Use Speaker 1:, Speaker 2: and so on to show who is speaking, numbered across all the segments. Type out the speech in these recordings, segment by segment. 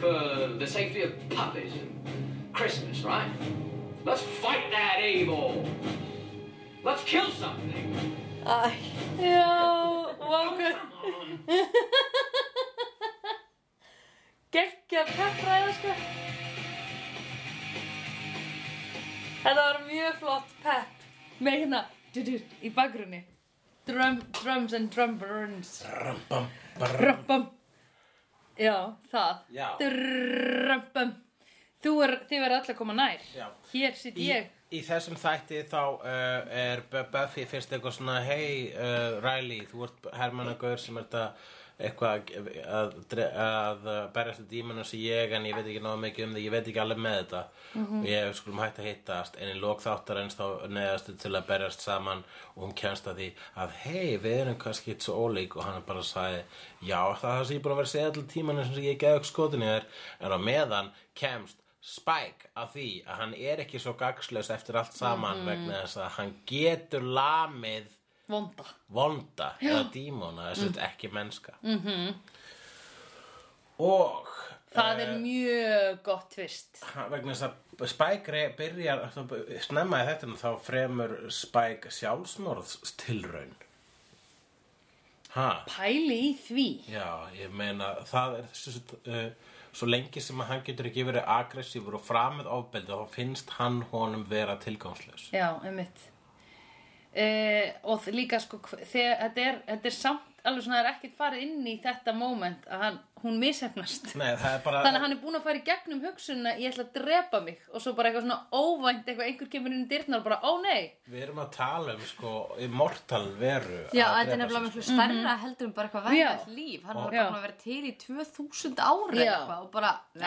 Speaker 1: for the safety of puppies and Christmas, right? Let's fight that evil. Let's kill something.
Speaker 2: Æ, já, vágur
Speaker 1: Come
Speaker 2: Gekkja peppræða, sko Þetta var mjög flott pepp Með hérna, dudur, í bakgrunni Drum, drums and drumburns
Speaker 3: Rambam, barram.
Speaker 2: Röppum Já, það
Speaker 3: Já.
Speaker 2: Röppum Þú er, þið verður alltaf að koma nær
Speaker 3: Já.
Speaker 2: Hér sitt
Speaker 3: Í,
Speaker 2: ég
Speaker 3: í þessum þætti þá uh, er Bu- Buffy fyrst eitthvað svona Hei uh, Riley, þú ert hermannagaur sem ert að eitthvað að, að, dre- að uh, berjast við dímanu sem ég en ég veit ekki náðu mikið um því ég veit ekki alveg með þetta og ég skulum hægt að hittast en í lók þáttar eins þá neðastu til að berjast saman og hún kemst að því að hei við erum kannski svo ólík og hann bara sagði já það er það sem ég búin að vera að segja allir tímanu sem ég geði ekki skotinu þér en á meðan kemst Spike að því að hann er ekki svo gagslaus eftir allt saman vegna þess að hann getur lamið
Speaker 2: Vonda
Speaker 3: vonda eða dímona þess að ekki mennska -hmm. og
Speaker 2: Það
Speaker 3: Eh.
Speaker 2: er mjög gott tvist
Speaker 3: ha- vegna þess að Spike re- byrjar þá- snemma í þetta þá fremur Spike sjálfsmorðstilraun ha
Speaker 2: Pæli í því
Speaker 3: Já, ég meina það er þessu uh, svo lengi sem að hann getur ekki verið aggressífur og framið ofbeldi þá finnst hann honum vera tilgangslaus.
Speaker 2: Já, einmitt Uh, og þ- líka sko hv- þegar þetta er, þetta er samt alveg svona það er ekkert farið inn í þetta moment að hann, hún mishefnast
Speaker 3: Nei, það er bara
Speaker 2: þannig að hann er búin að fara í gegnum hugsunna ég ætla að drepa mig og svo bara eitthvað svona óvænt eitthvað einhver kemur inn í dyrnar og bara ó nei
Speaker 3: við erum að tala um sko immortal veru.
Speaker 4: Já,
Speaker 3: að
Speaker 4: þetta
Speaker 3: drepa
Speaker 4: er
Speaker 3: sig,
Speaker 4: nefnilega miklu stærra heldur en bara eitthvað venjulegt
Speaker 2: Já.
Speaker 4: líf. Hann var
Speaker 2: Já.
Speaker 4: bara búin að vera til í 2000 ári
Speaker 2: Já.
Speaker 4: eitthvað og bara,
Speaker 2: Nei,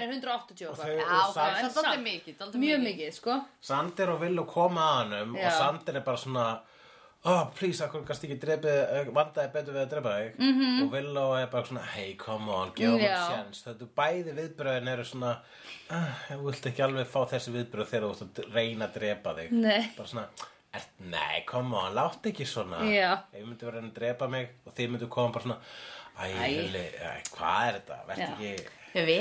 Speaker 2: hann er 180 og
Speaker 3: Og
Speaker 2: eitthvað.
Speaker 3: þau-
Speaker 4: já, ok,
Speaker 3: samt-
Speaker 4: það er
Speaker 2: samt.
Speaker 4: daldið mikið, daldið
Speaker 2: Mjög mikið, sko
Speaker 3: Sander og Villu koma að hannum
Speaker 2: Já.
Speaker 3: og Sander er bara svona oh, please, akkur kannski ekki drepið eh, vandaði betur við að drepa þig -hmm. og Villu er bara svona, hey, come on gefa mér
Speaker 2: Mhm. Já.
Speaker 3: sjans, þetta er bæði viðbröðin eru svona, ah, þú vilt ekki alveg fá þessi viðbröð þegar þú ert að reyna að drepa þig,
Speaker 2: Nei.
Speaker 3: bara svona ert, nei, come on, látt ekki svona
Speaker 2: Já.
Speaker 3: ef ég myndi vera að reyna að drepa mig og þið myndu koma bara svona æ, Villi, æ, hvað er þetta, verð
Speaker 2: Já.
Speaker 3: ekki
Speaker 4: mikið.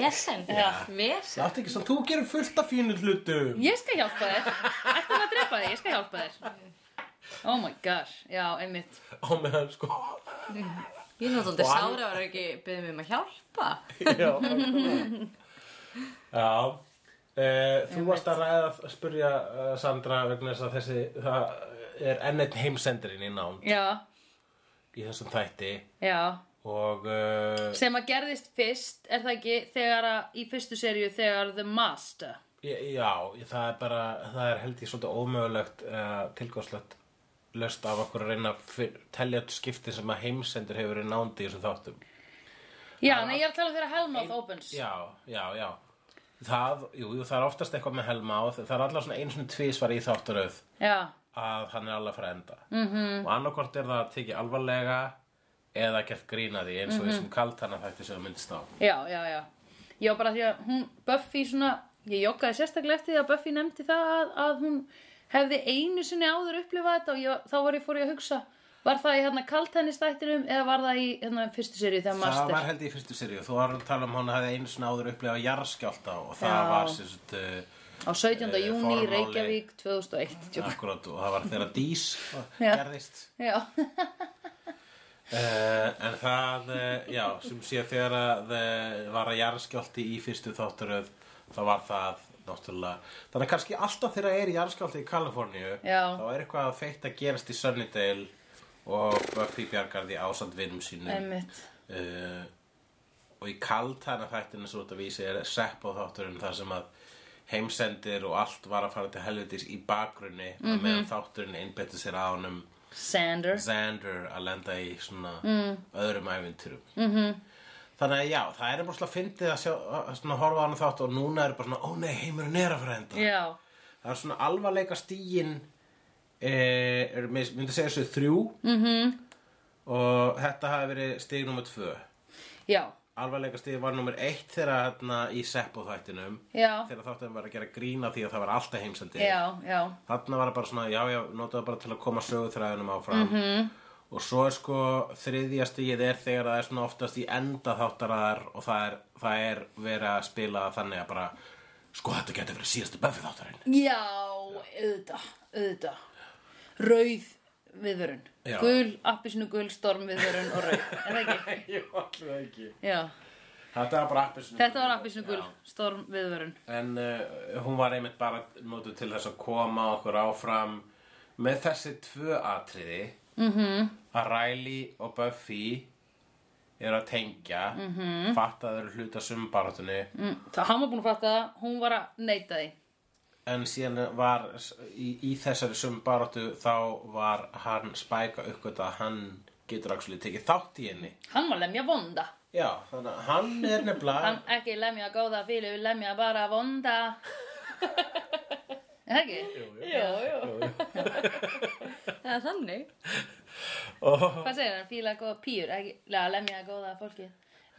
Speaker 4: Vesen, vesen.
Speaker 3: látt ekki svona, þú gerir fullt af fínu hlutum
Speaker 2: Ég skal hjálpa þér Ættum að drepa þér, ég skal hjálpa þér Oh my gosh, já, einmitt
Speaker 3: á meðan sko
Speaker 4: Ég er náttúrulega
Speaker 3: Og hann-
Speaker 4: sára að vera ekki beðið mig um að hjálpa.
Speaker 3: Já, nákvæmlega. Já. Uh, þú varst að ræða að spurja uh, Sandra vegna þess að þessi það er enn einn heimsendurinn í nánd
Speaker 2: Já,
Speaker 3: í þessum þætti
Speaker 2: já
Speaker 3: og uh,
Speaker 2: Sem að gerðist fyrst, er það ekki þegar að í fyrstu serju þegar The Master
Speaker 3: ég- já, ég- það er bara það er held ég svolítið ómögulegt uh, tilgóðslegt löst af okkur að reyna að fyr- telja skipti sem að heimsendur hefur verið í nánd í þessum þáttum
Speaker 2: Já, nei, ég er að tala um þegar Hellmouth Opens
Speaker 3: Já, já, já Það, jú, jú, það er oftast eitthvað með helma og það er allar svona einu svona tvísvar í þáttaröð
Speaker 2: Já,
Speaker 3: að hann er alveg að fara að enda
Speaker 2: Mhm.
Speaker 3: -hmm. og annarkort er það að tekið alvarlega eða gert grína því eins og
Speaker 2: Mhm.
Speaker 3: þessum kalt hann að þetta sem myndist á
Speaker 2: já, já, já Já, bara því að hún, Buffy svona Ég joggaði sérstaklega eftir því að Buffy nefndi það að, að hún hefði einu sinni áður upplifað þetta og ég, þá var ég fór ég að hugsa Var það í hérna kaltennistættinum eða var það í hérna fyrstu serju þegar Master
Speaker 3: það var held ég í fyrstu serið þú var að tala um hann að hefði einu svona áður upplega jarðskjálta og það
Speaker 2: Já.
Speaker 3: var sem sagt uh,
Speaker 2: Á 17.
Speaker 3: Eh,
Speaker 2: júni í
Speaker 3: formáli.
Speaker 2: Reykjavík 2001 Djók.
Speaker 3: akkurat og það var þegar dís
Speaker 2: Já.
Speaker 3: gerðist
Speaker 2: Já,
Speaker 3: Uh, en það, uh, já, sem sé þegar að uh, var að jarðskjálti í fyrstu þátturöð, þá var það náttúrulega, þannig að kannski alltaf þegar er jarðskjálti í Kaliforníu,
Speaker 2: Já.
Speaker 3: þá er eitthvað að feitt að gerast í Sunnydale og Buffy bjargar því ásand vinnum sínum.
Speaker 2: einmitt
Speaker 3: Uh, og í kaltana þættinu svo þetta vísi er sepp á þátturinn þar sem að heimsendir og allt var að fara til helvitis í bakgrunni mm og meðan þátturinn einbetur sér að honum
Speaker 2: Sander
Speaker 3: Xander að lenda í svona
Speaker 2: Mm.
Speaker 3: öðrum æfinturum mm -hmm.
Speaker 2: Mhm.
Speaker 3: þannig að já, það er bara svona fyndið að, sjá, að svona horfa á hann þátt og núna er bara svona, ó nei, heimurinn er að fara að enda
Speaker 2: Já,
Speaker 3: það er svona alvarleika stíin e, er, mér myndi segja þessu þrjú mm
Speaker 2: Mhm.
Speaker 3: -hmm. og þetta hafi verið stíg nummer tvö
Speaker 2: já,
Speaker 3: alvarleika stíð var nummer eitt þegar hérna í Seppo þættinum
Speaker 2: Já.
Speaker 3: þegar þáttum var að gera grína því að það var alltaf heimsendi
Speaker 2: já, já Mhm.
Speaker 3: Þarna var það bara svona, já, já, notaðu bara til að koma sögutræðunum áfram -hmm. og svo er sko þriðja stigið er þegar það er svona oftast í enda þáttaraðar og það er, það er verið að spila þannig að bara sko þetta getur verið síðastu Buffy þáttarinn
Speaker 2: Já, auðvitað, auðvitað. Rauð viðvörun.
Speaker 3: Já.
Speaker 2: Gul, appisinu gul, storm viðvörun og rauð. Er það ekki?
Speaker 3: Ég var það ekki
Speaker 2: Já.
Speaker 3: Þetta var bara appisinu
Speaker 2: Þetta var appisinu gul, storm viðvörun.
Speaker 3: En uh, hún var einmitt bara notuð til þess að koma okkur áfram með þessi tvö atriði
Speaker 2: Mhm.
Speaker 3: -hmm. að Riley og Buffy eru að tengja mm
Speaker 2: Mhm.
Speaker 3: -hmm. fatta að þau eru hluta sumbaráttunni mm.
Speaker 2: Mm, það hann var búin að fatta það, hún var að neita því.
Speaker 3: en síðan var s- í, í þessari sumbaráttu þá var hann spæka uppgöta að hann getur actually tekið þátt í henni
Speaker 2: Hann var lemja vonda.
Speaker 3: Já, þannig að hann er nefnilega
Speaker 2: Hann ekki lemja góða fílu, lemja bara vonda. Er það ekki? Jú, jú. Já, já.
Speaker 4: Það er þannig.
Speaker 3: og
Speaker 2: Hvað segir hann? Fíla góða pýr, ekki? Já, lemja góða fólkið.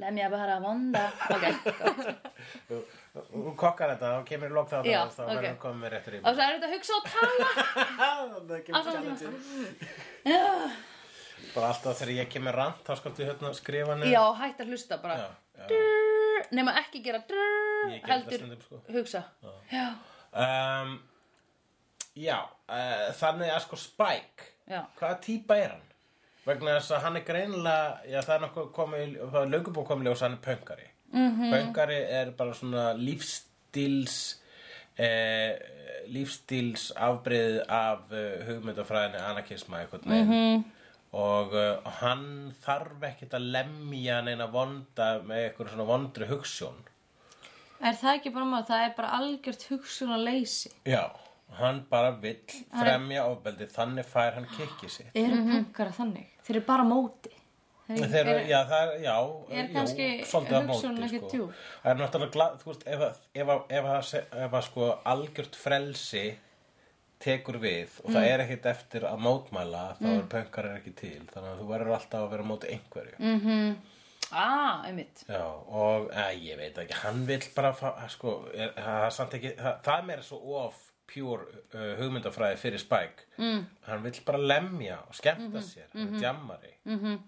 Speaker 2: Lemja bara vonda. Ok, gott.
Speaker 3: hún kokkar þetta og kemur í lók þáttar
Speaker 2: Já,
Speaker 3: og þá
Speaker 2: ok.
Speaker 3: verður hann komið með réttur í
Speaker 2: Og svo er þetta að hugsa og tala.
Speaker 3: Það er
Speaker 2: Á sama tíma.
Speaker 3: ekki Bara alltaf þegar ég kemur rand þá skaltu hérna skrifa niður.
Speaker 2: Já, hætt að hlusta bara
Speaker 3: Já, já.
Speaker 2: Drrrr, nema ekki gera drrrr,
Speaker 3: Ég gerði það
Speaker 2: heldur
Speaker 3: stundum, sko.
Speaker 2: hugsa já,
Speaker 3: Um, já uh, þannig að sko Spike
Speaker 2: Já.
Speaker 3: hvaða típa er hann? Vegna þess að hann er greinilega já, það er nokkuð komið, í- það er löngubúk komið í ljós að hann er pöngari. -hmm. Pöngari er bara svona lífstíls eh, lífstíls afbrið af uh, hugmyndafræðinni anarkisma einhvern veginn -hmm. og uh, hann þarf ekkert að lemja neina vonda með eitthvað svona vondri hugssjón
Speaker 4: Er það ekki bara maður? Það er bara algjört hugsun að leysi.
Speaker 3: Já, hann bara vill fremja ofbeldi, þannig fær hann kikki sitt.
Speaker 4: Eru mm þannig? Þeir eru bara á móti. Þeir eru,
Speaker 3: Þeir, já, það er, já,
Speaker 4: er kannski
Speaker 3: jú, svolítið að
Speaker 4: hugsunin
Speaker 3: móti,
Speaker 4: ekki
Speaker 3: sko.
Speaker 4: djúp?
Speaker 3: Það er náttúrulega glad, þú veist, ef, að- ef, að- ef, ef, ef, ef að sko algjört frelsi tekur við og
Speaker 4: Mm.
Speaker 3: það er ekkit eftir að mótmæla, þá er pönkarinn ekki til, þannig að þú verður alltaf að vera á móti einhverju.
Speaker 2: ah, einmitt
Speaker 3: Já, og að, ég veit ekki, hann vill bara fá, að, sko, er, að, samt ekki, að, það er meira svo of pure uh, hugmyndafræði fyrir Spike. Mm. Hann vill bara lemja og skemmta
Speaker 2: Mhm,
Speaker 3: sér, hann er djammari.
Speaker 2: Mm.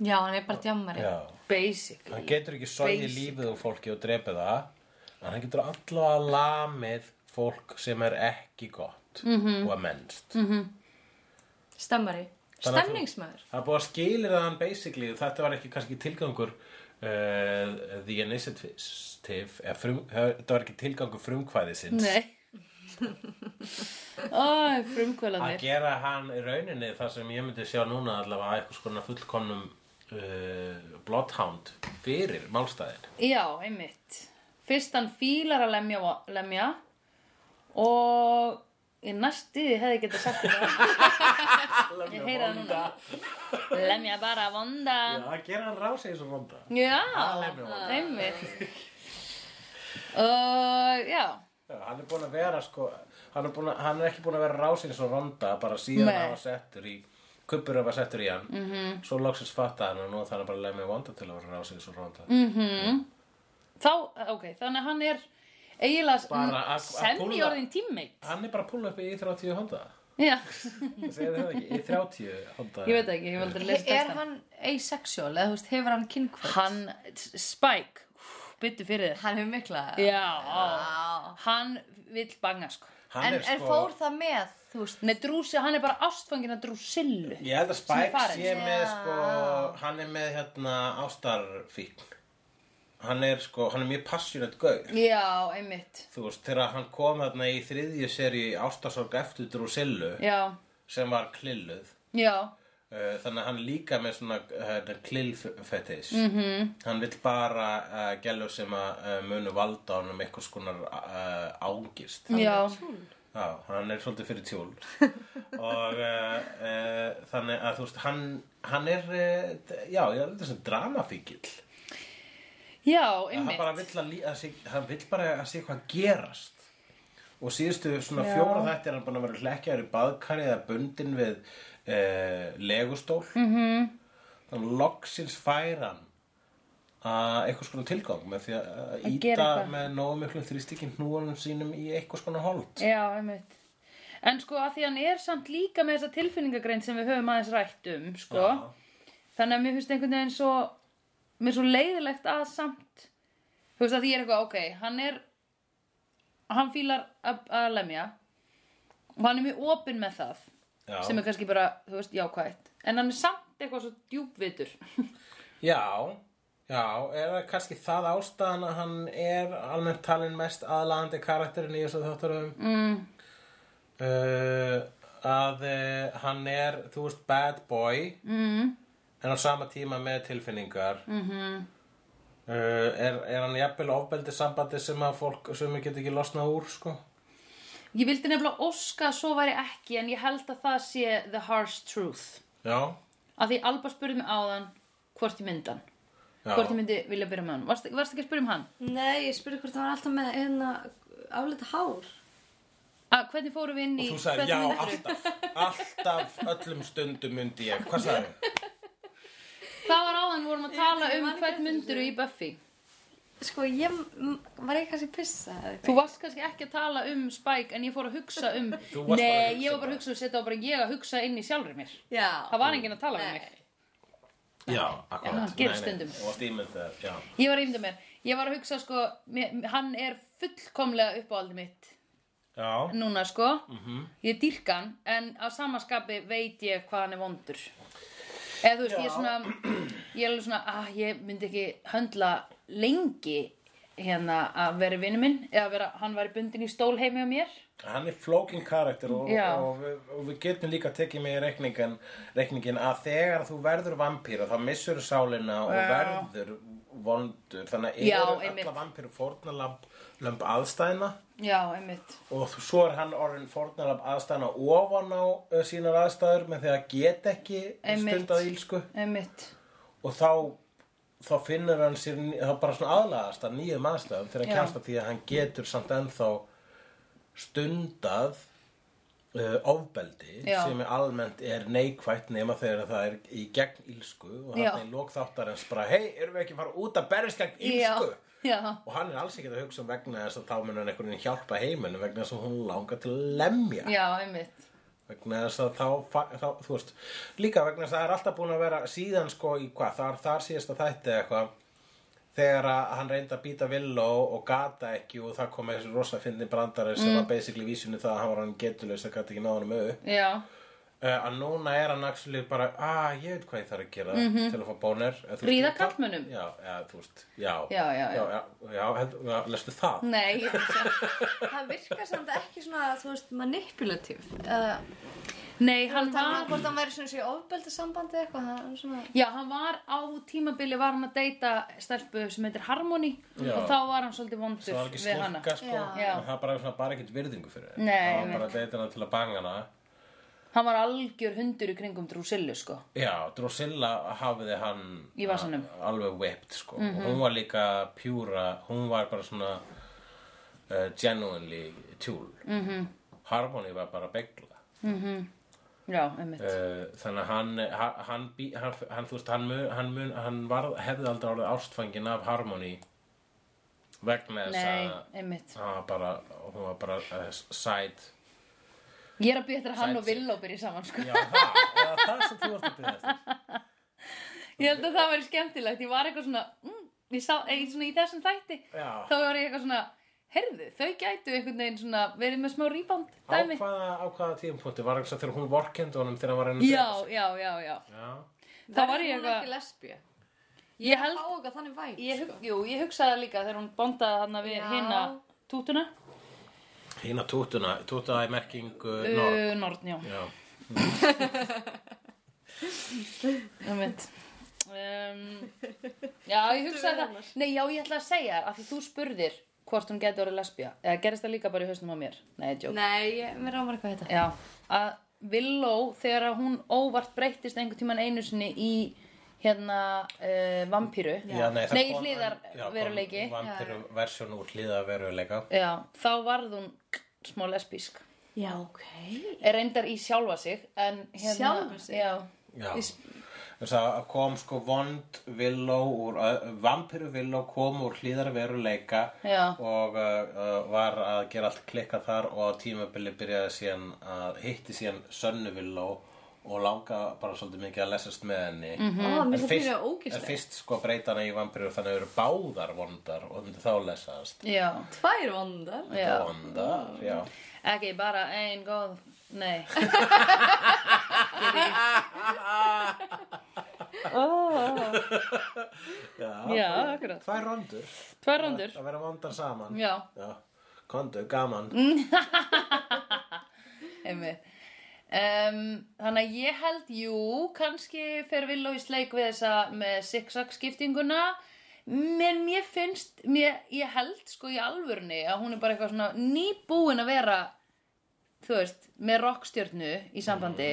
Speaker 4: Já, hann er bara djammari.
Speaker 3: Já,
Speaker 2: basic,
Speaker 3: hann getur ekki sóið
Speaker 2: Basic.
Speaker 3: lífið úr fólki og drepið það, en hann getur allavega lamið fólk sem er ekki gott
Speaker 2: Mhm.
Speaker 3: og er mennst.
Speaker 4: Stammari.
Speaker 3: Þannig að þú-
Speaker 4: Stemningsmaður.
Speaker 3: Það er búið að skilir það hann basically þetta var ekki kannski tilgangur uh, the initiative eða frum, þetta var ekki tilgangur frumkvæðisins
Speaker 2: nei Æ,
Speaker 3: að
Speaker 2: frumkvölanir
Speaker 3: gera hann í rauninni það sem ég myndi sjá núna allavega að eitthvað skona fullkomnum uh, bloodhound fyrir málstæðin
Speaker 2: Já, einmitt Fyrst hann fílar að lemja, lemja og ég næstu því hefði getað sagt þetta Ég heyra það núna Lemja bara vonda
Speaker 3: að gera hann rási eins og vonda
Speaker 2: Já,
Speaker 3: lemja vonda.
Speaker 2: einmitt Og já
Speaker 3: Já, hann er búin að vera sko hann er, búin að, hann er ekki búin að vera rásin svo ronda bara síðan
Speaker 2: Nei. Mhm.
Speaker 3: hann var settur í kuppur var settur í hann mm -hmm. svo loksins fatta hann og nú þarf hann bara að lemja vonda til að vera rásin svo ronda mm.
Speaker 2: þá, ok, þannig að hann er eiginlega
Speaker 3: Bara að- að
Speaker 2: semmi
Speaker 3: púlla.
Speaker 2: orðin teammate
Speaker 3: hann er bara að púla upp í 30 honda
Speaker 2: já,
Speaker 3: segir það ekki, í 30 honda
Speaker 2: ég veit ekki, ég var aldrei að lesa
Speaker 4: Er
Speaker 2: textan
Speaker 4: hann asexual? Eða þú veist, hefur hann kynkvöld?
Speaker 2: hann, Spike byttu fyrir þér,
Speaker 4: Hann hefur mikla.
Speaker 2: já
Speaker 4: Já.
Speaker 2: hann vill banga sko
Speaker 3: Hann
Speaker 4: En,
Speaker 3: er sko,
Speaker 4: en fór það með, þú veist,
Speaker 2: Nei, drúsi, hann er bara ástfangin að drúsillu
Speaker 3: ég held að
Speaker 2: sem er
Speaker 3: Spike
Speaker 2: farin.
Speaker 3: sé með sko hann er með hérna ástarfíkn hann er sko, hann er mjög passionate gaur
Speaker 2: Já, einmitt
Speaker 3: þú veist, þegar hann kom þarna í þriðju seri ástarsorg eftir Drusillu
Speaker 2: Já,
Speaker 3: sem var klilluð
Speaker 2: já,
Speaker 3: Uh, þannig að hann er líka með svona uh, klillfetis mm -hmm.
Speaker 2: Mhm.
Speaker 3: hann vill bara uh, gælu sem að uh, munu valda hann um eitthvað skonar uh, ángist
Speaker 2: já
Speaker 3: Já, hann er svolítið fyrir tjól og uh, uh, þannig að þú veist hann, hann er uh, d- já, ég er þetta sem dramafíkil
Speaker 2: Já,
Speaker 3: hann bara
Speaker 2: einmitt
Speaker 3: vill að, lí- að sé, hann vill bara að sé hvað gerast og síðustu svona fjóra þetta er hann búin að vera hlekkjaður í baðkari eða bundin við eh, legustól mm -hmm.
Speaker 2: Mhm.
Speaker 3: þannig loksins fær hann að eitthvað skona tilgang með því að
Speaker 2: Að gera
Speaker 3: íta
Speaker 2: eitthvað.
Speaker 3: með nógu miklu þrýstikinn hnúanum sínum í eitthvað skona hold
Speaker 2: Já, einmitt En sko að því hann er samt líka með þessa tilfinningagrein sem við höfum aðeins rætt um, sko. Þannig að mér finnst einhvern veginn svo, mér er svo leiðilegt að samt, þú veist að því ég er eitthvað, ok, hann er, hann fílar að, að lemja og hann er mjög opinn með það
Speaker 3: Já.
Speaker 2: sem er kannski bara, þú veist, jákvætt. En hann er samt eitthvað svo djúpvitur.
Speaker 3: Já, já, er það kannski það ástæðan að hann er almennt talin mest aðlaðandi karakterin í þessu þátturum mm. að uh, hann er, þú veist, bad boy mm. en á sama tíma með tilfinningar mm -hmm.
Speaker 2: Mm-hmm.
Speaker 3: er, er hann jafnvel ofbeldi sambandi sem að fólk sem við getum ekki losnað úr, sko
Speaker 2: Ég vildi nefnilega óska að svo væri ekki en ég held að það sé the harsh truth.
Speaker 3: Já,
Speaker 2: Að því Alba spurði mig áðan hvort ég myndan.
Speaker 3: já,
Speaker 2: Hvort ég myndi vilja byrja með hann. Varst, varst ekki að spyrja um hann?
Speaker 4: Nei, ég spurði hvort það var alltaf með hérna álita hár.
Speaker 2: Að Ah, hvernig fórum við inn í...
Speaker 3: þú sagði já,
Speaker 2: hvernig myndirðu?"
Speaker 3: alltaf alltaf öllum stundum myndi ég hvað sagði hann?
Speaker 2: Það var áðan við vorum að tala
Speaker 4: ég
Speaker 2: um
Speaker 4: man ekki
Speaker 2: hvern
Speaker 4: eftir
Speaker 2: myndir í Buffy.
Speaker 4: Sko, ég m- var ég kannski pissa eða
Speaker 2: Þú
Speaker 4: eitthvað.
Speaker 2: varst kannski ekki að tala um Spike en ég fór að hugsa um...
Speaker 3: Þú varst bara
Speaker 2: Nei,
Speaker 3: að hugsa
Speaker 2: ég var bara
Speaker 3: bara.
Speaker 2: að hugsa um þetta og bara ég að hugsa inn í sjálfur mér.
Speaker 4: Já.
Speaker 2: Það var enginn að tala um
Speaker 4: Nei.
Speaker 2: mig.
Speaker 3: Já, akkurat
Speaker 2: það gerist stundum.
Speaker 3: Þú varst ímyndað, já
Speaker 2: Ég var að ímynda mér. Ég var að hugsa sko, mér, hann er fullkomlega uppáaldið mitt
Speaker 3: Já,
Speaker 2: núna sko.
Speaker 3: Mhm.
Speaker 2: Ég dýrka hann en á samaskapi veit ég hvað hann er vondur. Eða þú veist, ég er svona, ég er alveg svona, ah, ég myndi ekki höndla lengi hérna að vera vinnu minn eða vera, hann væri bundin í stól heimi á mér.
Speaker 3: hann er flókin karakter og,
Speaker 2: Já.
Speaker 3: og, við, og við getum líka tekið með í reikningin, reikningin að þegar þú verður vampýra þá missur sálina og verður vondur þannig
Speaker 2: Já,
Speaker 3: að eru
Speaker 2: einmitt.
Speaker 3: alla vampýru fórnalamb lömb aðstæðna
Speaker 2: Já, einmitt.
Speaker 3: og þú- svo er hann orðin fórnalamb aðstæðna ofan á uh, sínar aðstæður með þegar get ekki
Speaker 2: Einmitt.
Speaker 3: stundað ílsku
Speaker 2: Einmitt.
Speaker 3: og þá þá finnur hann sér ný- þá bara svona aðlagast að nýjum aðstæðum þegar hann
Speaker 2: Já.
Speaker 3: kjast að því að hann getur samt ennþá stundað uh, ofbeldi
Speaker 2: Já.
Speaker 3: sem er almennt er neikvætt nema þegar það er í gegn ílsku og
Speaker 2: Já.
Speaker 3: hann er lókþáttar en bara hei, erum við ekki að fara út að berjast gegn ílsku?
Speaker 2: Já, já.
Speaker 3: Og hann er alls ekki að hugsa um vegna þess að þá mun hann einhvern veginn hjálpa heiminu vegna þess að hún langar til að lemja
Speaker 2: Já, einmitt.
Speaker 3: vegna þess að þá, fa- þá þú veist, líka vegna þess að það er alltaf búin að vera síðan sko í hvað, þar, þar síðasta þætti eða eitthvað þegar að hann reyndi að býta villó og gata ekki og það kom með þessi rosa fyndi brandari sem
Speaker 2: Mm.
Speaker 3: var basically vísunni það að hann var hann getulös það gæti ekki náður um auðu
Speaker 2: Já,
Speaker 3: uh, að núna er hann actually bara að ég veit hvað ég þarf að gera til að fá bónir Eða, þú veist,
Speaker 2: Mhm. Ríða
Speaker 3: ég tal-
Speaker 2: karlmönnum.
Speaker 3: já, já, þú veist, já
Speaker 2: Já, já, já.
Speaker 3: já, já, já, held, já lestu það
Speaker 2: nei,
Speaker 4: Það virkar samt ekki svona, þú veist, manipulativ. Uh,
Speaker 2: nei, hann
Speaker 4: Talum
Speaker 2: var,
Speaker 4: um hvort hann væri svona í ofbeldi sambandi eitthvað, hann svona...
Speaker 2: já, hann var á tímabili var hann að deyta stelpu sem heitir Harmony
Speaker 3: Já.
Speaker 2: og þá var hann svolítið vondur
Speaker 3: það var ekki
Speaker 2: við hana.
Speaker 3: slurka sko,
Speaker 4: Já.
Speaker 2: Já.
Speaker 3: en það er bara, svona, bara ekkert virðingu fyrir henni.
Speaker 2: Nei,
Speaker 3: það var bara deytina til að banga hana
Speaker 2: Hann var algjör hundur í kringum Drusillu, sko.
Speaker 3: Já, Drusilla hafiði hann
Speaker 2: Í vasanum. Mhm.
Speaker 3: a- alveg whipped sko. og hún var líka pjúra hún var bara svona uh, genuinely tjúl mm -hmm.
Speaker 2: Mhm.
Speaker 3: Harmony var bara begla
Speaker 2: Já, einmitt.
Speaker 4: Eh,
Speaker 3: uh, þannig að hann ha- hann, bí- hann, hann, þú veist, hann, mun, hann, mun, hann var, hefði aldrei orðið ástfangin af Harmony vegna þess
Speaker 2: nei,
Speaker 3: að
Speaker 2: einmitt.
Speaker 3: hann var bara, hún var bara uh, side
Speaker 2: Ég er að býja eftir að hann og Villó byrja saman, sko.
Speaker 3: Já, það, eða það sem þú varst að um. byrja þess
Speaker 2: Ég held að það væri skemmtilegt. Ég var eitthvað svona, mm, ég sá, eh, svona í þessum þætti,
Speaker 3: Já.
Speaker 2: þá var ég eitthvað svona, heyrðu, þau gætu einhvern veginn svona verið með smá rýband,
Speaker 3: Á
Speaker 2: dæmi.
Speaker 3: hvaða, á hvaða tímpúnti var þess að þegar hún vorkendi honum þegar hann var að reyna að
Speaker 2: Já,
Speaker 3: drepa sig?
Speaker 2: já, já, já.
Speaker 3: Já.
Speaker 2: Þá var ég
Speaker 4: Verður hún
Speaker 2: eitthvað,
Speaker 4: ekki lesbíu.
Speaker 2: ég held
Speaker 4: Fá eitthvað þannig væg,
Speaker 2: Ég,
Speaker 4: sko.
Speaker 2: hug, jú, ég hugsaði það líka þegar hún bondaði hann við
Speaker 4: Já.
Speaker 2: hina tútuna
Speaker 3: Hína tútuna, tútuna í merkingu uh, norð.
Speaker 2: uh, Nortn, já,
Speaker 3: Já.
Speaker 2: um um, Já, ég hugsaði það Nei, já, ég ætla að segja þér af því þú spurðir hvort hún getur orðið lesbía eða gerist það líka bara í hausnum á mér Nei, joke
Speaker 4: Nei, ég, mér rámar eitthvað þetta.
Speaker 2: Já, að Villó þegar að hún óvart breyttist einhvern tímann einu sinni í hérna uh, vampíru
Speaker 3: Já, nei, það
Speaker 2: Nei,
Speaker 3: kom-
Speaker 2: hliðar
Speaker 3: já, kom
Speaker 2: veruleiki
Speaker 3: Vampiru versjón úr hliðar veruleika.
Speaker 2: Já, þá varð hún smá lesbísk
Speaker 4: Já, ok.
Speaker 2: er reyndar í sjálfa sig en hérna,
Speaker 4: Sjálfa sig?
Speaker 2: Já
Speaker 3: Já. þess að kom sko vond villó úr, vampiru villó kom úr hlýðar veruleika
Speaker 2: Já.
Speaker 3: og uh, uh, var að gera allt klikka þar og á tímabili byrjaði síðan að hitti síðan sönnu villó og langa bara svolítið mikið að lesast með henni mm
Speaker 4: Ó, mér
Speaker 3: fyrst,
Speaker 4: finnst það fyrir
Speaker 3: en
Speaker 4: ógíslega.
Speaker 3: fyrst sko breyta hana í vampiru þannig að eru báðar vondar og myndi þá lesast
Speaker 2: já,
Speaker 4: Tvær vondar.
Speaker 2: já.
Speaker 3: vondar, já
Speaker 2: Ekki bara ein góð, nei. oh. Já, akkurat.
Speaker 3: Tvær rondur
Speaker 2: Tvær rondur.
Speaker 3: Að vera vondar saman
Speaker 2: Já,
Speaker 3: Já. Kondu, gaman
Speaker 2: einmitt. Um, þannig að ég held, jú, kannski fer Villó í sleik við þessa með zigzag skiptinguna. Men mér finnst, mér, ég held sko í alvörni að hún er bara eitthvað svona nýbúin að vera, þú veist, með rockstjörnu í sambandi.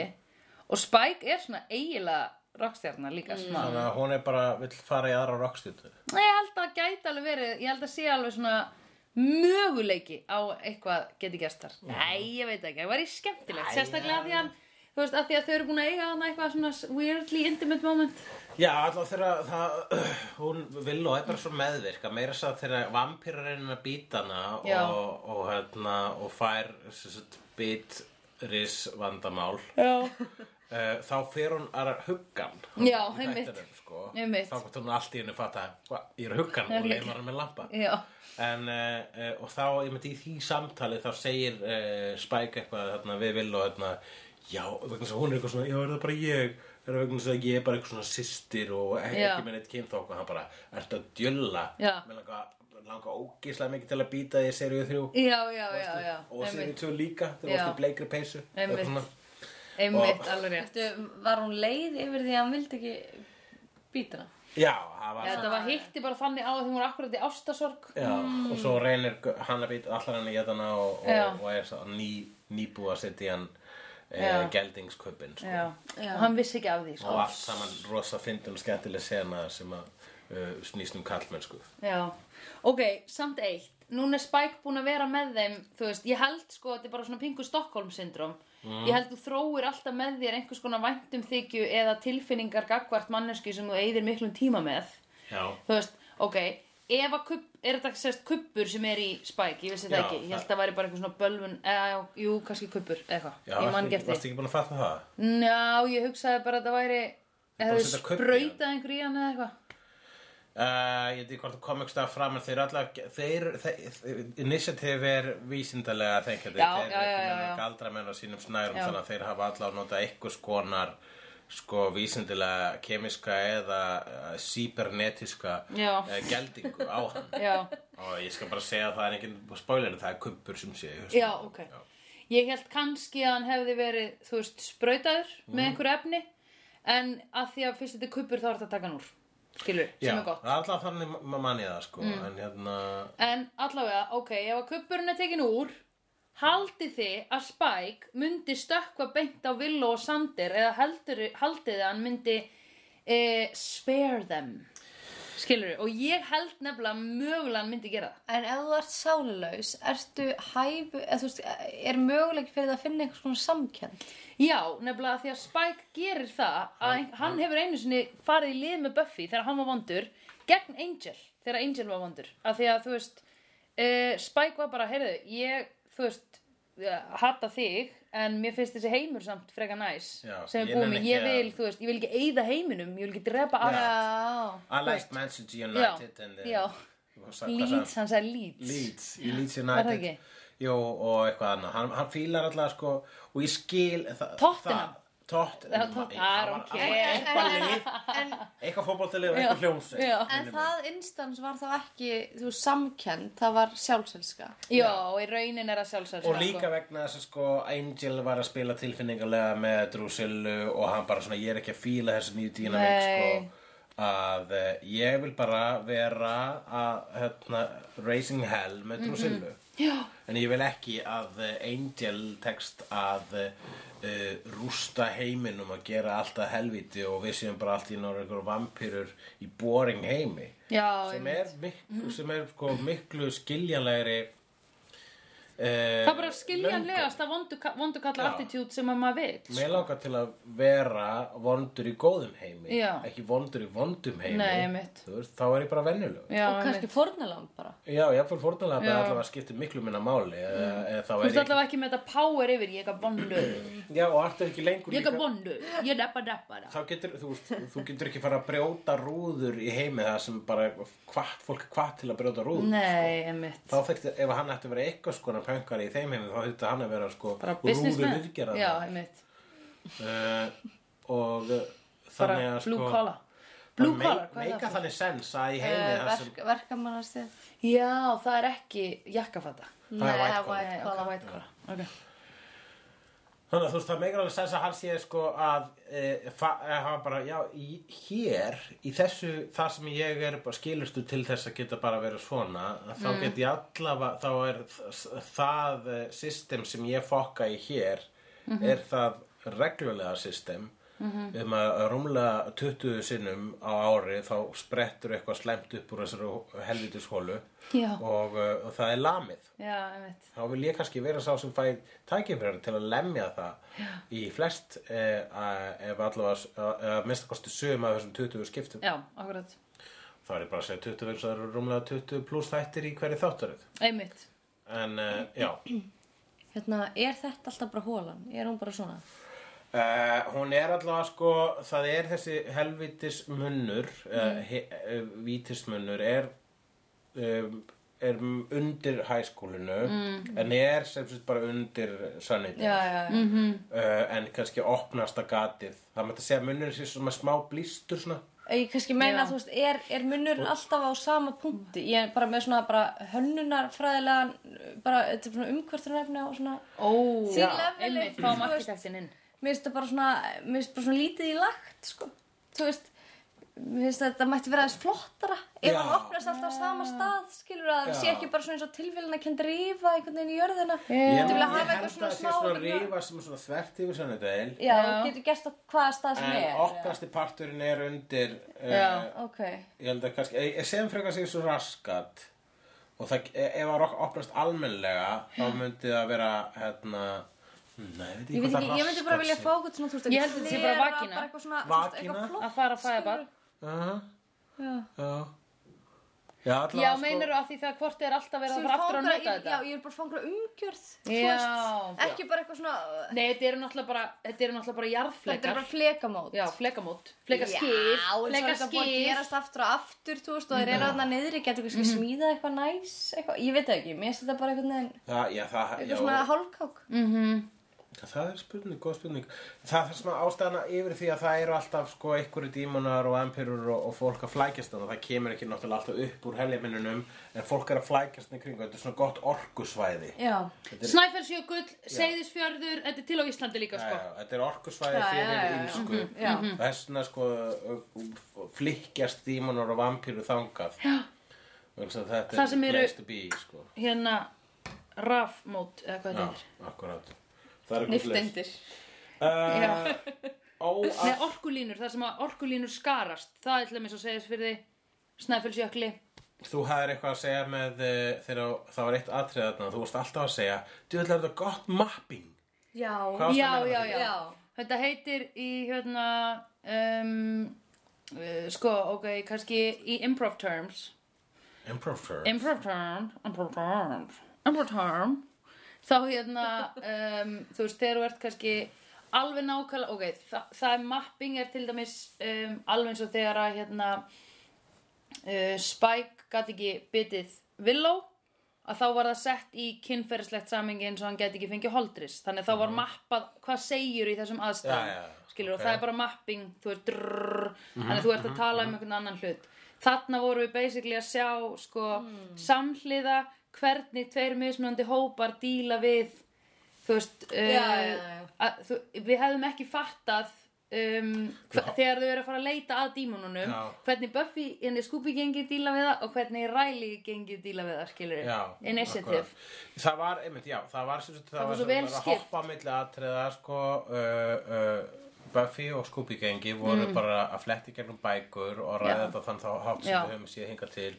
Speaker 2: Og Spike er svona eiginlega rockstjörna líka smá.
Speaker 3: Þannig að hún er bara, vill fara í aðra rockstýtu
Speaker 2: Nei, ég held að það gæti alveg verið, ég held að sé alveg svona möguleiki á eitthvað geti gerst þar. Nei, ég veit ekki, það væri skemmtilegt, sérstaklega að því að, þú veist, að því að þau eru búin að eiga þarna eitthvað svona weirdly intimate moment.
Speaker 3: Já, alltaf þegar það Hún vill og er bara svo meðvirka Meira þess að þegar vampýrar reynir að býta hana
Speaker 2: Já.
Speaker 3: og, og, hérna, og fær sem sagt, bít ris vandamál
Speaker 2: Já.
Speaker 3: uh, Þá fer hún að hugga hann
Speaker 2: Já,
Speaker 3: Í
Speaker 2: einmitt.
Speaker 3: þættinum, sko.
Speaker 2: Einmitt.
Speaker 3: Þá gott hún allt í henni fatta "Hva, Ég er að hugga hann og leifar hann með lampa
Speaker 2: Já,
Speaker 3: En, uh, uh, og þá, ég myndi í því samtali þá segir uh, Spike eitthvað þarna, við vill og hérna já, vegna þess að hún er eitthvað svona, já, er það bara ég er það vegna þess að ég er bara eitthvað svona systir og ekki,
Speaker 2: Já.
Speaker 3: ekki með neitt kynþók og hann bara, ertu að djölla
Speaker 2: Já.
Speaker 3: með langa, langa ógislega mikið til að býta því serið þrjú
Speaker 2: já, já, já, já,
Speaker 3: og serið
Speaker 2: einmitt,
Speaker 3: tvö líka
Speaker 2: Já.
Speaker 3: þegar varstu í bleikri peysu
Speaker 2: Einmitt.
Speaker 3: Eitthvað svona.
Speaker 2: einmitt, alveg rétt.
Speaker 4: Veistu, var hún leið yfir því að hann vildi ekki býta hana?
Speaker 3: já, það var
Speaker 2: Já, þetta var hitti bara þannig á að þau voru akkurat í ástasorg.
Speaker 3: Já, og svo reynir gu- hann að býta allar hann að geta hana og,
Speaker 2: Mm. Já.
Speaker 3: og, og er svo ný, nýbúið að setja í hann
Speaker 2: Já.
Speaker 3: e, geldingsköpinn sko.
Speaker 2: Já, og hann vissi ekki af því,
Speaker 3: og
Speaker 2: sko.
Speaker 3: allt saman rosa fyndun og skemmtileg sena sem að uh, snýst um kallmennsku
Speaker 2: Já, ok, samt eitt Núna er Spike búin að vera með þeim Þú veist, ég held sko, þetta er bara svona pingu Stockholm syndrom
Speaker 3: Mm.
Speaker 2: Ég held þú þróir alltaf með þér einhvers konar væntum þykju eða tilfinningar gagvart mannesku sem þú eyðir miklum tíma með
Speaker 3: Já,
Speaker 2: Þú veist, ok, ef að kubb Er þetta sérst kubbur sem er í Spike? Ég vissi það
Speaker 3: Já,
Speaker 2: ekki, ég held
Speaker 3: það-
Speaker 2: það væri bara eitthvað svona bölvun eða, já, Jú, kannski kubbur, eða eitthvað,
Speaker 3: Já
Speaker 2: ég mann
Speaker 3: varstu-
Speaker 2: gert
Speaker 3: varstu
Speaker 2: því
Speaker 3: ekki búin að fatta það?
Speaker 2: Ná, ég hugsaði bara að það væri
Speaker 3: Bara
Speaker 2: Eða
Speaker 3: setja kubb í
Speaker 2: sprautað einhverju í hann eða eitthvað
Speaker 3: Uh, ég veit ekki hvort þú kom ekki stað fram en þeir allavega, þeir, þeir, þeir initiative er vísindalega þenkjandi
Speaker 2: Já,
Speaker 3: þeir
Speaker 2: já, já, já, já.
Speaker 3: galdra menn á sínum snærum
Speaker 2: Já.
Speaker 3: þannig að þeir hafa allavega notað einhvers konar sko vísindalega kemiska eða uh, cybernetiska
Speaker 2: Já.
Speaker 3: uh, geldingu á hann
Speaker 2: Já
Speaker 3: og ég skal bara segja að það er engin spoiler það er kumpur sem sé í hausnum.
Speaker 2: Já, ok. Ég held kannski að hann hefði verið, þú veist, sprautaður með einhverju efni, en að því að fyrst þetta er kuppur þá er þetta að taka hann úr, skilur, sem
Speaker 3: Já,
Speaker 2: er gott. Mm.
Speaker 3: það er alltaf þannig ma- mann ég það sko en hérna,
Speaker 2: En allavega, ok, ef að kuppurinn er tekin úr, haldið þið að Spike myndi stökkva beint á Willow og Sander eða heldur, haldið þið að hann myndi e, spare them, skilur, og ég held nefnilega að mögulega hann myndi gera það.
Speaker 4: En ef þú ert sálaus, ertu hæfu, eða þú veist, er möguleik fyrir það að finna einhvers konar samkjönd?
Speaker 2: Já, nefnilega því að Spike gerir það að hann, hann hefur einu sinni farið í lið með Buffy þegar hann var vondur gegn Angel, þegar Angel var vondur af því að þú veist uh, Spike var bara, heyrðu, ég þú veist, uh, hata þig en mér finnst þessi heimur samt freka næs
Speaker 3: Já,
Speaker 2: sem
Speaker 3: ég
Speaker 2: er búið
Speaker 3: nenni
Speaker 2: með,
Speaker 3: ekki
Speaker 2: ég
Speaker 3: að-
Speaker 2: vil þú veist, ég vil ekki eyða heiminum, ég vil ekki drepa aðra
Speaker 4: Já.
Speaker 3: I liked Manchester United and then,
Speaker 2: já,
Speaker 3: Hvað sa- hvað sagði hann?
Speaker 2: Leeds, hann sagði Leeds
Speaker 3: Leeds, í Leeds
Speaker 2: Var það
Speaker 3: United
Speaker 2: ekki?
Speaker 3: Jó, og eitthvað annað hann, hann fílar alltaf sko og ég skil þa
Speaker 2: Tottenham.
Speaker 3: það Tottenham
Speaker 2: Tottenham, I
Speaker 3: Ég- það
Speaker 2: don't
Speaker 3: var-
Speaker 2: care.
Speaker 3: það var Eitthvað lið,
Speaker 4: En,
Speaker 3: eitthvað fótboltalið og
Speaker 2: Já,
Speaker 3: eitthvað hljómsveit
Speaker 2: já.
Speaker 4: en það instans var þá ekki, þú veist, samkjönd, það var sjálfselska.
Speaker 2: Já, í raunin er það sjálfsagt
Speaker 3: Og líka vegna þess að sko Angel var að spila tilfinningarlega með Drusillu og hann bara svona ég er ekki að fíla þessu nýju dýnavík
Speaker 2: Nei.
Speaker 3: sko að eh, ég vil bara vera að hérna, raising hell með Drusillu en ég vil ekki að eh, Angel tekst að uh, rústa heiminum að gera alltaf helviti og við séum bara allt í náður einhverjum vampýrur í boring heimi
Speaker 2: Já,
Speaker 3: sem
Speaker 2: einmitt.
Speaker 3: er miklu, sem er sko miklu skiljanlegri Það
Speaker 2: Það er bara sko. skiljanlegast að vondukallar
Speaker 3: Já.
Speaker 2: attitude sem að maður vill. sko.
Speaker 3: Mér langar til að vera vondur í góðum heimi
Speaker 2: Já.
Speaker 3: Ekki vondur í vondum heimi
Speaker 2: Nei, einmitt.
Speaker 3: Þú veist, Þá er ég bara venjuleg
Speaker 2: Já,
Speaker 4: og
Speaker 2: einmitt.
Speaker 4: kannski fornalamb bara
Speaker 3: Já, jafnvel fórnalega
Speaker 2: Já. Mm.
Speaker 3: bara allavega skiptir miklu minna máli eða, eða þá
Speaker 2: Þú
Speaker 3: er
Speaker 2: veist
Speaker 3: ég
Speaker 2: allavega ekki með þetta power yfir, ég er vondur,
Speaker 3: ekki Já, og allt er ekki lengur
Speaker 2: ég er vondur, ég neppa neppa
Speaker 3: Þá getur, þú, veist, þú getur ekki fara að brjóta rúður í heimi það sem bara hvatt, fólk er hvatt til að brjóta rúður
Speaker 2: Nei, einmitt.
Speaker 3: sko, Þá þyrfti, ef hann ætti að vera eitthvað skona pöngari í þeim heimi þá þyrfti hann að vera sko
Speaker 2: Bara
Speaker 3: rúður
Speaker 2: businessman. Já, einmitt.
Speaker 3: uh, og uh,
Speaker 2: Bara
Speaker 3: þannig að sko
Speaker 2: blue collar. Blue collar, hvað er
Speaker 3: meika
Speaker 2: það?
Speaker 3: þannig sens að í heimi
Speaker 4: Eh,
Speaker 3: það sem
Speaker 4: verk, verkamannastétt
Speaker 2: Já, það er ekki jakkafata.
Speaker 3: Það er
Speaker 4: Nei,
Speaker 3: white collar.
Speaker 4: white
Speaker 2: Nei,
Speaker 4: collar.
Speaker 2: ok, white collar. Ok.
Speaker 3: þannig að þú veist það meikar alveg sens að hann sé sko að e, fa, e, hafa bara já í, hér í þessu þar sem ég er bara skilustu til þess að geta bara verið svona þá get ég allavega þá er þ- það eh, system sem ég fokka í hér er það reglulega system um að rúmlega 20 sinnum á ári þá sprettur eitthvað slæmt upp úr þessari helvitishólu
Speaker 2: Já.
Speaker 3: og, eh, og það er lamið
Speaker 2: Já, einmitt.
Speaker 3: þá vil ég kannski vera sá sem fæ tækifæri til að lemja það í flest eh, að- ef allavega s- að að minnsta kosti sögum af þessum 20 skiptum
Speaker 2: Já, akkurat.
Speaker 3: þá er ég bara að segja 20 vegna það eru rúmlega 20 pluss þættir í hverju þáttaröð
Speaker 2: Einmitt.
Speaker 3: en eh, já
Speaker 4: Hérna, er þetta alltaf bara hólan? Er hún bara svona?
Speaker 3: Uh, hún er allavega sko, það er þessi helvitis munnur,
Speaker 4: Mm.
Speaker 3: uh, he, uh, vítismunnur er, um, er undir hæskólinu mm. en er sem sagt bara undir sannindar.
Speaker 4: já, já. Mm.
Speaker 3: uh, en kannski opnasta gatið það mætti að segja að munnurinn sé svona smá blístur svona
Speaker 4: Ég kannski meina,
Speaker 2: Já.
Speaker 4: þú veist, er, er munnurinn alltaf á sama punkti? Ég er bara með svona bara hönnunarfræðilegan, bara, þetta er svona umkvörtunarefni og svona,
Speaker 2: Ó,
Speaker 4: Því leveli,
Speaker 2: einmitt,
Speaker 4: þú
Speaker 2: fáum
Speaker 4: veist.
Speaker 2: arkitektinn inn.
Speaker 4: mér finnst þetta bara svona, mér finnst bara svona lítið í lagt, sko. Þú veist, mér finnst þetta mætti vera aðeins flottara ef
Speaker 3: Já.
Speaker 4: hann opnast alltaf á sama stað, skilur að það sé ekki bara svona eins og tilvílina kemd rífa einhvern veginn í jörðina.
Speaker 2: Ég-
Speaker 4: Þú vilja hafa
Speaker 3: held
Speaker 4: eitthvað
Speaker 3: að
Speaker 4: svona
Speaker 3: það sé
Speaker 4: smá.
Speaker 3: svona
Speaker 4: einhverja-
Speaker 3: rífa sem er svona þvert yfir sannudegil
Speaker 4: Já,
Speaker 2: Já.
Speaker 4: þú getur gert á hvaða stað sem er.
Speaker 3: en opnasti parturinn er undir uh,
Speaker 2: Já.
Speaker 4: Ok,
Speaker 3: ég held að kannski, ég, ég segjum frekar sig svo raskat og það, e- ef að rokk opnast almennlega þá myndi það vera hérna Nei, ég veit ekki
Speaker 4: ég veit
Speaker 3: hvað
Speaker 4: ekki,
Speaker 3: það
Speaker 4: ég myndi bara
Speaker 3: raskat
Speaker 4: vilja
Speaker 3: sé.
Speaker 4: fá okkur svona, þú veist,
Speaker 2: Ég held að þetta sé bara
Speaker 4: klera,
Speaker 2: vakína.
Speaker 4: bara eitthvað svona, þú veist,
Speaker 3: Vakína?
Speaker 4: eitthvað flott.
Speaker 2: Að fara að fæða
Speaker 4: skilurðu.
Speaker 2: barn.
Speaker 3: Aha.
Speaker 4: Já.
Speaker 3: Já, já allavega
Speaker 2: Já,
Speaker 3: sko-
Speaker 2: meinarðu að því það hvort er alltaf verið
Speaker 4: Svo
Speaker 2: að
Speaker 4: ég
Speaker 2: fara
Speaker 4: vil fá
Speaker 2: aftur að
Speaker 4: einhverja-
Speaker 2: nota
Speaker 4: ég-
Speaker 2: þetta?
Speaker 4: Já, ég vil bara fá einhverja umgjörð, þú
Speaker 2: Já.
Speaker 4: veist, ekki bara eitthvað svona,
Speaker 2: Nei, þetta eru náttúrulega bara, þetta eru náttúrulega bara
Speaker 4: þetta er
Speaker 2: jarðflekar.
Speaker 4: bara flekamót.
Speaker 2: Já, flekamót, flekaskil,
Speaker 4: Já, og svo er þetta búið að
Speaker 2: flekaskil.
Speaker 4: gerast aftur og aftur, þú veist, og þeir eru þarna niðri, getur
Speaker 2: Mhm.
Speaker 4: kannski smíðað eitthvað næs, eitthvað, ég veit það ekki, mér finnst þetta bara einhvern veginn,
Speaker 3: Það, já, það, já,
Speaker 4: eitthvað svona hálkák.
Speaker 2: Mm.
Speaker 3: Já, Það er spurning, góð spurning. Það er það sem að ástæðana yfir því að það eru alltaf sko einhverju dímonar og empirur og, og fólk að flækjast þannig. Það kemur ekki náttúrulega alltaf upp úr heljuminnunum en fólk er að flækjast í kringu. Þetta er svona gott orkusvæði.
Speaker 4: Já,
Speaker 2: Snæfellsjökull, Seyðisfjörður, þetta er til á Íslandi líka,
Speaker 3: Já,
Speaker 2: sko.
Speaker 3: já, þetta er orkusvæði
Speaker 4: Já, já, já,
Speaker 3: fyrir
Speaker 4: já.
Speaker 3: ínsku.
Speaker 4: já,
Speaker 3: Þessna sko uh, flykkjast dímonar og vampirur þangað. Já. Þetta er
Speaker 2: Það sem eru-
Speaker 3: place to be, sko.
Speaker 2: Hérna, rafmót, eða hvað
Speaker 3: Já,
Speaker 2: þetta er.
Speaker 3: akkurát. Það er eitthvað place.
Speaker 4: niftendir.
Speaker 3: Uh, ó, að
Speaker 2: Nei, orkulínur, það sem að orkulínur skarast, það er til dæmis á Seyðisfjörði, Snæfellsjökli.
Speaker 3: Þú hafðir eitthvað að segja með eh, þegar það var eitt atrið þarna, þú vorst alltaf að segja Þú ætlar þetta gott mapping
Speaker 4: Já,
Speaker 3: Hvað varstu
Speaker 2: Já,
Speaker 3: að meina með
Speaker 2: já,
Speaker 3: því?
Speaker 2: já.
Speaker 4: Já.
Speaker 2: Þetta heitir í, hérna, um, uh, sko, ok, kannski í improv terms.
Speaker 3: Improv term
Speaker 2: Improv term, improv term, improv term. Þá hérna, um, þú veist, þegar þú ert kannski alveg nákvæmlega, ok, þa það er mapping er til dæmis um, alveg eins og þegar að hérna uh, Spike gat ekki bitið Willow að þá var það sett í kynferðislegt samingi eins og hann gæti ekki fengið holdris þannig að þá var mappað hvað segir í þessum aðstæðum
Speaker 3: Já, já, já,
Speaker 2: skilur og
Speaker 3: ok.
Speaker 2: það er bara mapping þú ert drrrr, þannig að þú ert að tala um einhvern annan hlut þarna vorum við basically að sjá sko samhliða hvernig tveir mismunandi hópar díla við þú veist uh,
Speaker 4: Já, já, já.
Speaker 2: Að, þú, við hefðum ekki fattað um, hva- þegar þau eru að fara að leita að dímonunum
Speaker 3: Já.
Speaker 2: um hvernig Buffy en Scooby gengið díla við það og hvernig Riley gengið díla við það skilur
Speaker 3: Já,
Speaker 2: initiative
Speaker 3: akkurat. Það var, einmitt, já, það var sem sagt,
Speaker 2: Það var svo
Speaker 3: sem
Speaker 2: vel
Speaker 3: sagt að
Speaker 2: skipt.
Speaker 3: hoppa á milli atriða, sko uh, uh, Buffy og Scooby gengi voru bara að fletti gegnum bækur og ræða
Speaker 2: Mm. Já.
Speaker 3: þetta þann þá hátt sem
Speaker 2: Já. Mhm.
Speaker 3: við höfum síðan hingað til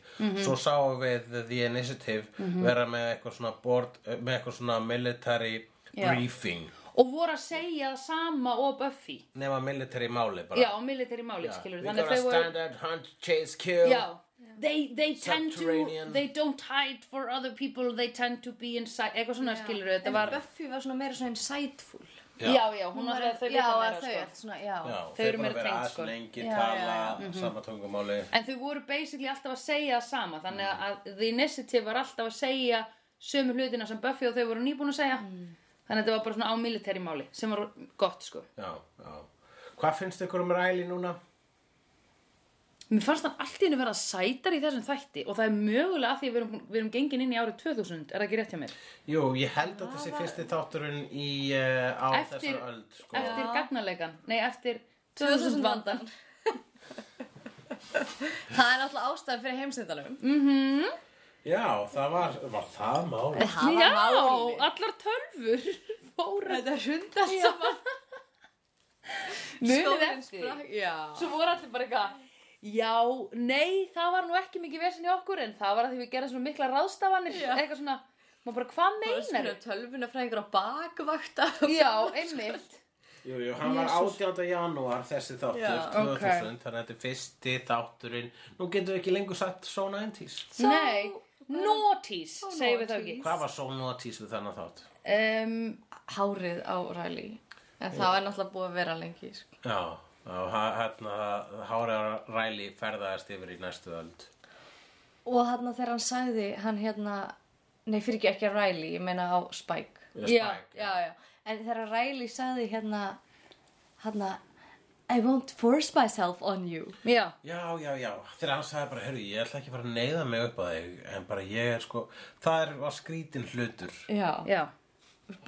Speaker 3: svo sáum við The Initiative vera með eitthvað svona board, með eitthvað svona military
Speaker 2: Já.
Speaker 3: briefing
Speaker 2: og voru að segja það sama og Buffy
Speaker 3: nema military máli bara
Speaker 2: já, og military máli skilur
Speaker 3: Við gonna stand and hunt, chase, kill
Speaker 2: Já, they, they tend to
Speaker 3: Subterranean.
Speaker 2: they don't hide for other people they tend to be inside, eitthvað svona skilur þetta
Speaker 4: En
Speaker 2: var,
Speaker 4: Buffy var svona meira svona insightful
Speaker 2: já, já, hún var það þau
Speaker 4: já,
Speaker 2: vita
Speaker 4: að
Speaker 2: meira
Speaker 4: þau
Speaker 2: sko
Speaker 4: sko. svona, já.
Speaker 3: Já,
Speaker 2: Þau eru
Speaker 3: bara
Speaker 2: meira
Speaker 3: vera
Speaker 2: tengd,
Speaker 3: aðeins
Speaker 2: sko.
Speaker 3: lengi
Speaker 4: Já,
Speaker 3: tala
Speaker 4: já, já.
Speaker 3: sama tungumáli
Speaker 2: en þau voru basically alltaf að segja það sama þannig að The Initiative var alltaf að segja sömu hlutina sem Buffy og þau voru nýbúin að segja þannig að þetta var bara svona á military máli sem var gott sko
Speaker 3: Já, já Hvað finnst ykkur um Riley núna?
Speaker 2: Mér fannst hann allt í henni vera sætar í þessum þætti og það er mögulega að því að við erum, við erum gengin inn í árið 2000, er það ekki rétt hjá mér?
Speaker 3: Jú, ég held að þessi fyrsti þátturinn í, uh, á
Speaker 2: Eftir-
Speaker 3: þessar öld sko.
Speaker 2: Eftir gagnarleikan, nei eftir
Speaker 4: 2000
Speaker 2: 2000 vandan
Speaker 4: það er alltaf ástæðan fyrir heimsendalum
Speaker 3: Já, það var, var það máli
Speaker 4: það
Speaker 2: Já,
Speaker 4: var málið
Speaker 2: allar tölfur fóru
Speaker 4: þetta hundar saman
Speaker 2: munið
Speaker 4: Skólinn
Speaker 2: eftir
Speaker 4: sprakk- sko. já
Speaker 2: Svo voru allir bara eitthvað Já, nei, það var nú ekki mikið vesen í okkur en það var að því við gerðum svona mikla ráðstafanir
Speaker 4: Já.
Speaker 2: eitthvað svona, maður bara hvað meinar
Speaker 4: tölvuna fræðingur á bakvakta
Speaker 2: Já, einmitt
Speaker 3: Jú, jú, hann var 18. janúar þessi þáttur,
Speaker 4: Já,
Speaker 3: 2000
Speaker 2: ok.
Speaker 3: Þannig að þetta er fyrsti þátturinn Nú getum við ekki lengur sagt so 90s
Speaker 4: So-
Speaker 2: Nei, notice,
Speaker 4: So
Speaker 2: segjum við það ekki
Speaker 4: naughties.
Speaker 3: Hvað var so 90s við þannig þátt?
Speaker 2: um,
Speaker 4: hárið á Riley en það er náttúrulega búið að vera lengi sko.
Speaker 3: Já, já, ha- hérna, Hára Riley ferðaðist yfir í næstu öld
Speaker 4: og hann þegar hann sagði hann hérna, nei fyrir ekki ekki að Riley ég meina á Spike
Speaker 3: Eða
Speaker 2: Já,
Speaker 3: Spike,
Speaker 4: já, já. En þegar Riley sagði hérna, hérna, I won't force myself on you.
Speaker 2: Já,
Speaker 3: Já, já, já, þegar hann sagði bara, heyrðu, ég ætla ekki að fara að neyða mig upp að þig, en bara ég er sko, það er, var skrítin hlutur
Speaker 4: Já.
Speaker 2: já,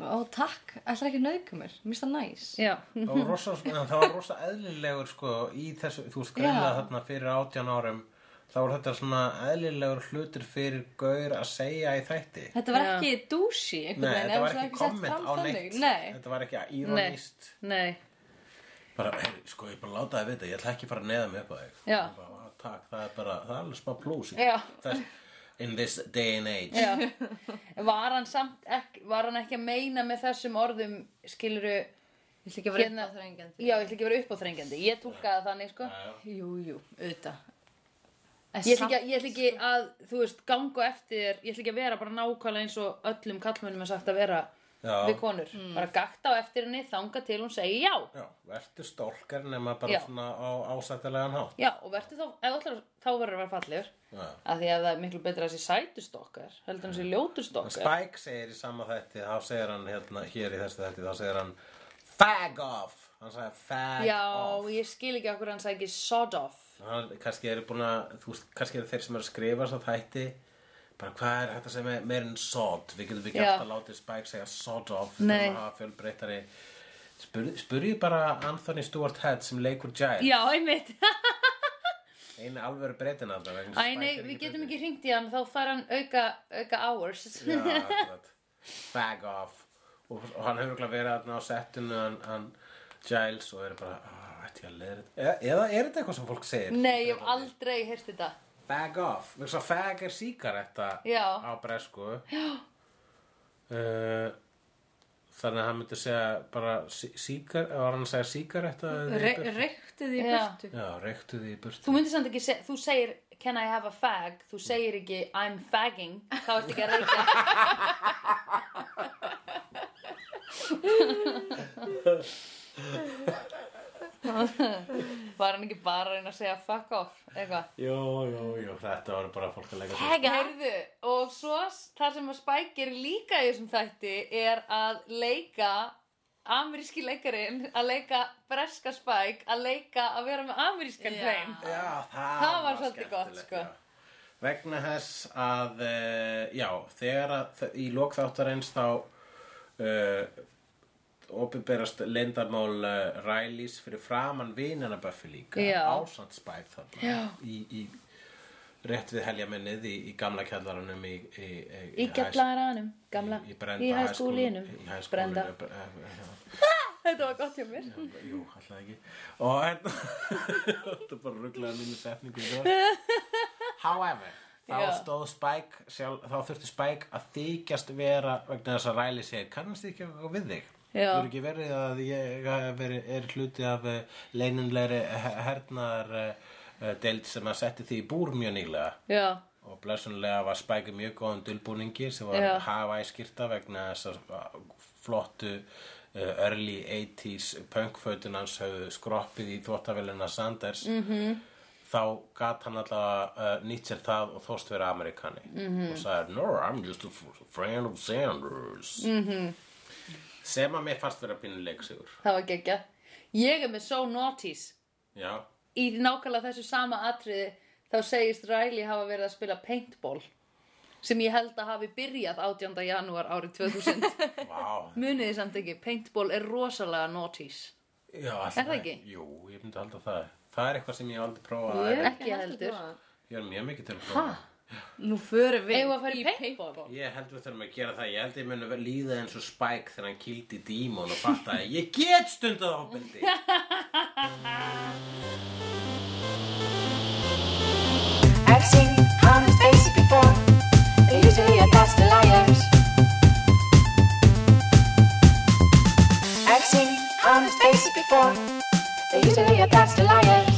Speaker 4: Ó, takk, ætlar ekki að nauðka mér, mér finnst það næs.
Speaker 2: já
Speaker 3: Það var rosa, sko, en það var rosa eðlilegur sko í þessu, þú veist, greinlega
Speaker 4: Já.
Speaker 3: þarna fyrir átján árum, þá var þetta svona eðlilegur hlutur fyrir gaur að segja í þætti.
Speaker 4: Þetta var
Speaker 2: Já.
Speaker 4: ekki douchey
Speaker 3: Nei,
Speaker 4: einhvern
Speaker 3: þetta
Speaker 4: veginn, ef
Speaker 3: var
Speaker 4: það
Speaker 3: ekki
Speaker 4: sett
Speaker 3: komment á
Speaker 4: fram
Speaker 3: neitt,
Speaker 4: þannig. Nei,
Speaker 3: þetta var ekki íronist,
Speaker 2: Nei,
Speaker 3: bara, heyrðu, sko, ég er bara að láta það vita, ég ætla ekki að fara að neyða mig upp að þig.
Speaker 2: Já.
Speaker 3: Og Bara, "Ah, takk, það er bara, það er alveg smá plús. í-
Speaker 2: Já.
Speaker 3: Þess, in this day and age.
Speaker 2: já Var hann samt ekki, var hann ekki að meina með þessum orðum skiluru
Speaker 4: ég ætla ekki að vera
Speaker 2: Hérna-
Speaker 4: upp á þrengjandi.
Speaker 2: Já, ég ætla ekki að vera uppáþrengjandi, ég tólkaði það þannig sko
Speaker 4: Jú, jú, auðvitað. En
Speaker 2: Ég ætla,
Speaker 4: samt-
Speaker 2: ekki, að- ég ætla ekki að, þú veist, ganga á eftir þér, ég ætla ekki að vera bara nákvæmlega eins og öllum kallmönnum er sagt að vera
Speaker 3: Já.
Speaker 2: við konur. Bara gakta á eftir henni, þanga til hún segi já.
Speaker 3: Já, verður stólkar nema bara
Speaker 2: Já.
Speaker 3: svona á ásættilegan hátt.
Speaker 2: Já, og verður þá, ef þú ætlar, þá verður að vera fallegur.
Speaker 3: Já.
Speaker 2: Af því að það er miklu betra að sé sætustokkar, heldur en að sé ljótustokkar.
Speaker 3: Spike segir í sama þætti, þá segir hann hérna, hér í þessu þætti, þá segir hann Fag off! Hann sagði fag
Speaker 2: Já,
Speaker 3: off.
Speaker 2: ég skil ekki okkur hann segi sod off.
Speaker 3: Hann, kannski eru búin að, þú veist, kannski eru þeir sem eru að skrifa svo þætti, bara hvað er hægt að segja meir, meir en sod? Við getum ekki
Speaker 2: Já.
Speaker 3: alltaf látið Spike segja sod off, við
Speaker 2: Nei.
Speaker 3: þurfum að hafa fjölbreyttari. Spur, spurjið bara Anthony Stewart Head sem leikur Giles,
Speaker 2: Já, einmitt.
Speaker 3: einu alvöru breytin alltaf. vegna þess
Speaker 2: Æ,
Speaker 3: að Spike
Speaker 2: nei,
Speaker 3: er
Speaker 2: við
Speaker 3: breytinn.
Speaker 2: getum ekki hringt í hann, þá fær hann auka, auka hours.
Speaker 3: Já, akkurat. Fag off og, og hann hefur ekki verið þarna á settinu hann, hann Giles og er bara "Ah, ætti ég að leiða þetta eða, eða er þetta eitthvað sem fólk segir
Speaker 2: Nei, ég hef aldrei heyrt þetta.
Speaker 3: fag off, við svo fag er síkaretta
Speaker 2: Já.
Speaker 3: á bresku já uh, þannig að hann myndi segja bara sí- síkar, var hann að segja síkaretta eða í
Speaker 4: Re-
Speaker 3: burtu?
Speaker 4: Reykti því í
Speaker 2: Já.
Speaker 4: burtu.
Speaker 3: já, reyktu því í burtu
Speaker 2: Þú myndir samt ekki, seg, þú segir Can I have a fag? Þú segir ekki I'm fagging, þá ert ekki að reyka Var hann ekki bara að reyna að segja fuck off eitthvað
Speaker 3: Jó, jó, jó, þetta var bara fólk að leika sér.
Speaker 2: Herðu, og svo s- það sem að Spike gerir líka í þessum þætti er að leika ameríski leikarinn að leika breska Spike að leika að vera með amerískan
Speaker 4: Já.
Speaker 2: hreim
Speaker 3: Já, það,
Speaker 2: Það var svolítið gott,
Speaker 3: skemmtilegt,
Speaker 2: sko.
Speaker 3: já. Vegna þess að, uh, já, þegar að, í lokþáttarins þá uh, opinberast leyndamál uh, Rælís fyrir framann vinana Buffy líka,
Speaker 2: Já.
Speaker 3: ásamt spæð þarna já. í, í rétt við heljaminnið í, í gamla kjallaranum í, í, í,
Speaker 2: Í
Speaker 3: hæst-
Speaker 2: kjallaranum, gamla,
Speaker 3: í, í,
Speaker 2: í hæskólinum,
Speaker 3: í hæskólinum
Speaker 2: brenda.
Speaker 3: eh, eh, já.
Speaker 2: Þetta var gott hjá mér.
Speaker 3: Jú, alltaf ekki Og hérna Þetta er bara rugglaði mínu setningu í dag. However Þá
Speaker 2: Já.
Speaker 3: stóð Spike sjálf, Þá þurfti Spike að þykjast vera vegna þess að Riley segir Kannast þið ekki eitthvað við þig?
Speaker 2: Já.
Speaker 3: Þú eru ekki verið að ég veri, er hluti af eh, leynilegri hernaðar eh, deild sem að setti því í búr mjög nýlega
Speaker 2: Já,
Speaker 3: og blessunlega var Spike í mjög góðum dulbúningi sem var
Speaker 2: Já.
Speaker 3: Hawaii skýrta vegna þess að flottu uh, early 80s punkfötun hans höfðu skroppið í þvóttavélina Sanders
Speaker 2: Mhm.
Speaker 3: -hmm. þá gat hann alltaf uh, nýtt sér það og þóst vera Amerikani
Speaker 2: Mhm.
Speaker 3: -hmm. og sagði no I'm just a f- friend of Sanders -hmm.
Speaker 2: Mhm.
Speaker 3: sem að mér fast vera pínuleik sigur
Speaker 2: það var geggja. Ég er með So Naughties.
Speaker 3: já,
Speaker 2: Í nákvæmlega þessu sama atriði þá segist Riley hafa verið að spila paintball sem ég held að hafi byrjað 18. janúar árið 2000.
Speaker 3: vá
Speaker 2: Munið þið samt ekki, paintball er rosalega Naughties.
Speaker 3: já,
Speaker 2: Er það ekki?
Speaker 3: Jú, ég myndi halda það það er eitthvað sem ég hef aldrei prófað
Speaker 2: Ég-
Speaker 3: yeah.
Speaker 2: Ekki heldur.
Speaker 3: ég er mjög mikið til að prófa
Speaker 4: Nú förum við
Speaker 2: Eigum við að fara í paintball?
Speaker 3: Ég held við þurfum að gera það, ég held ég muni líða eins og Spike þegar hann kýldi dímon og fatta að ég get stundað ofbeldi.
Speaker 5: I've seen honest faces before. They're usually a pass of liars. I've seen honest faces before. They're usually a pass of liars.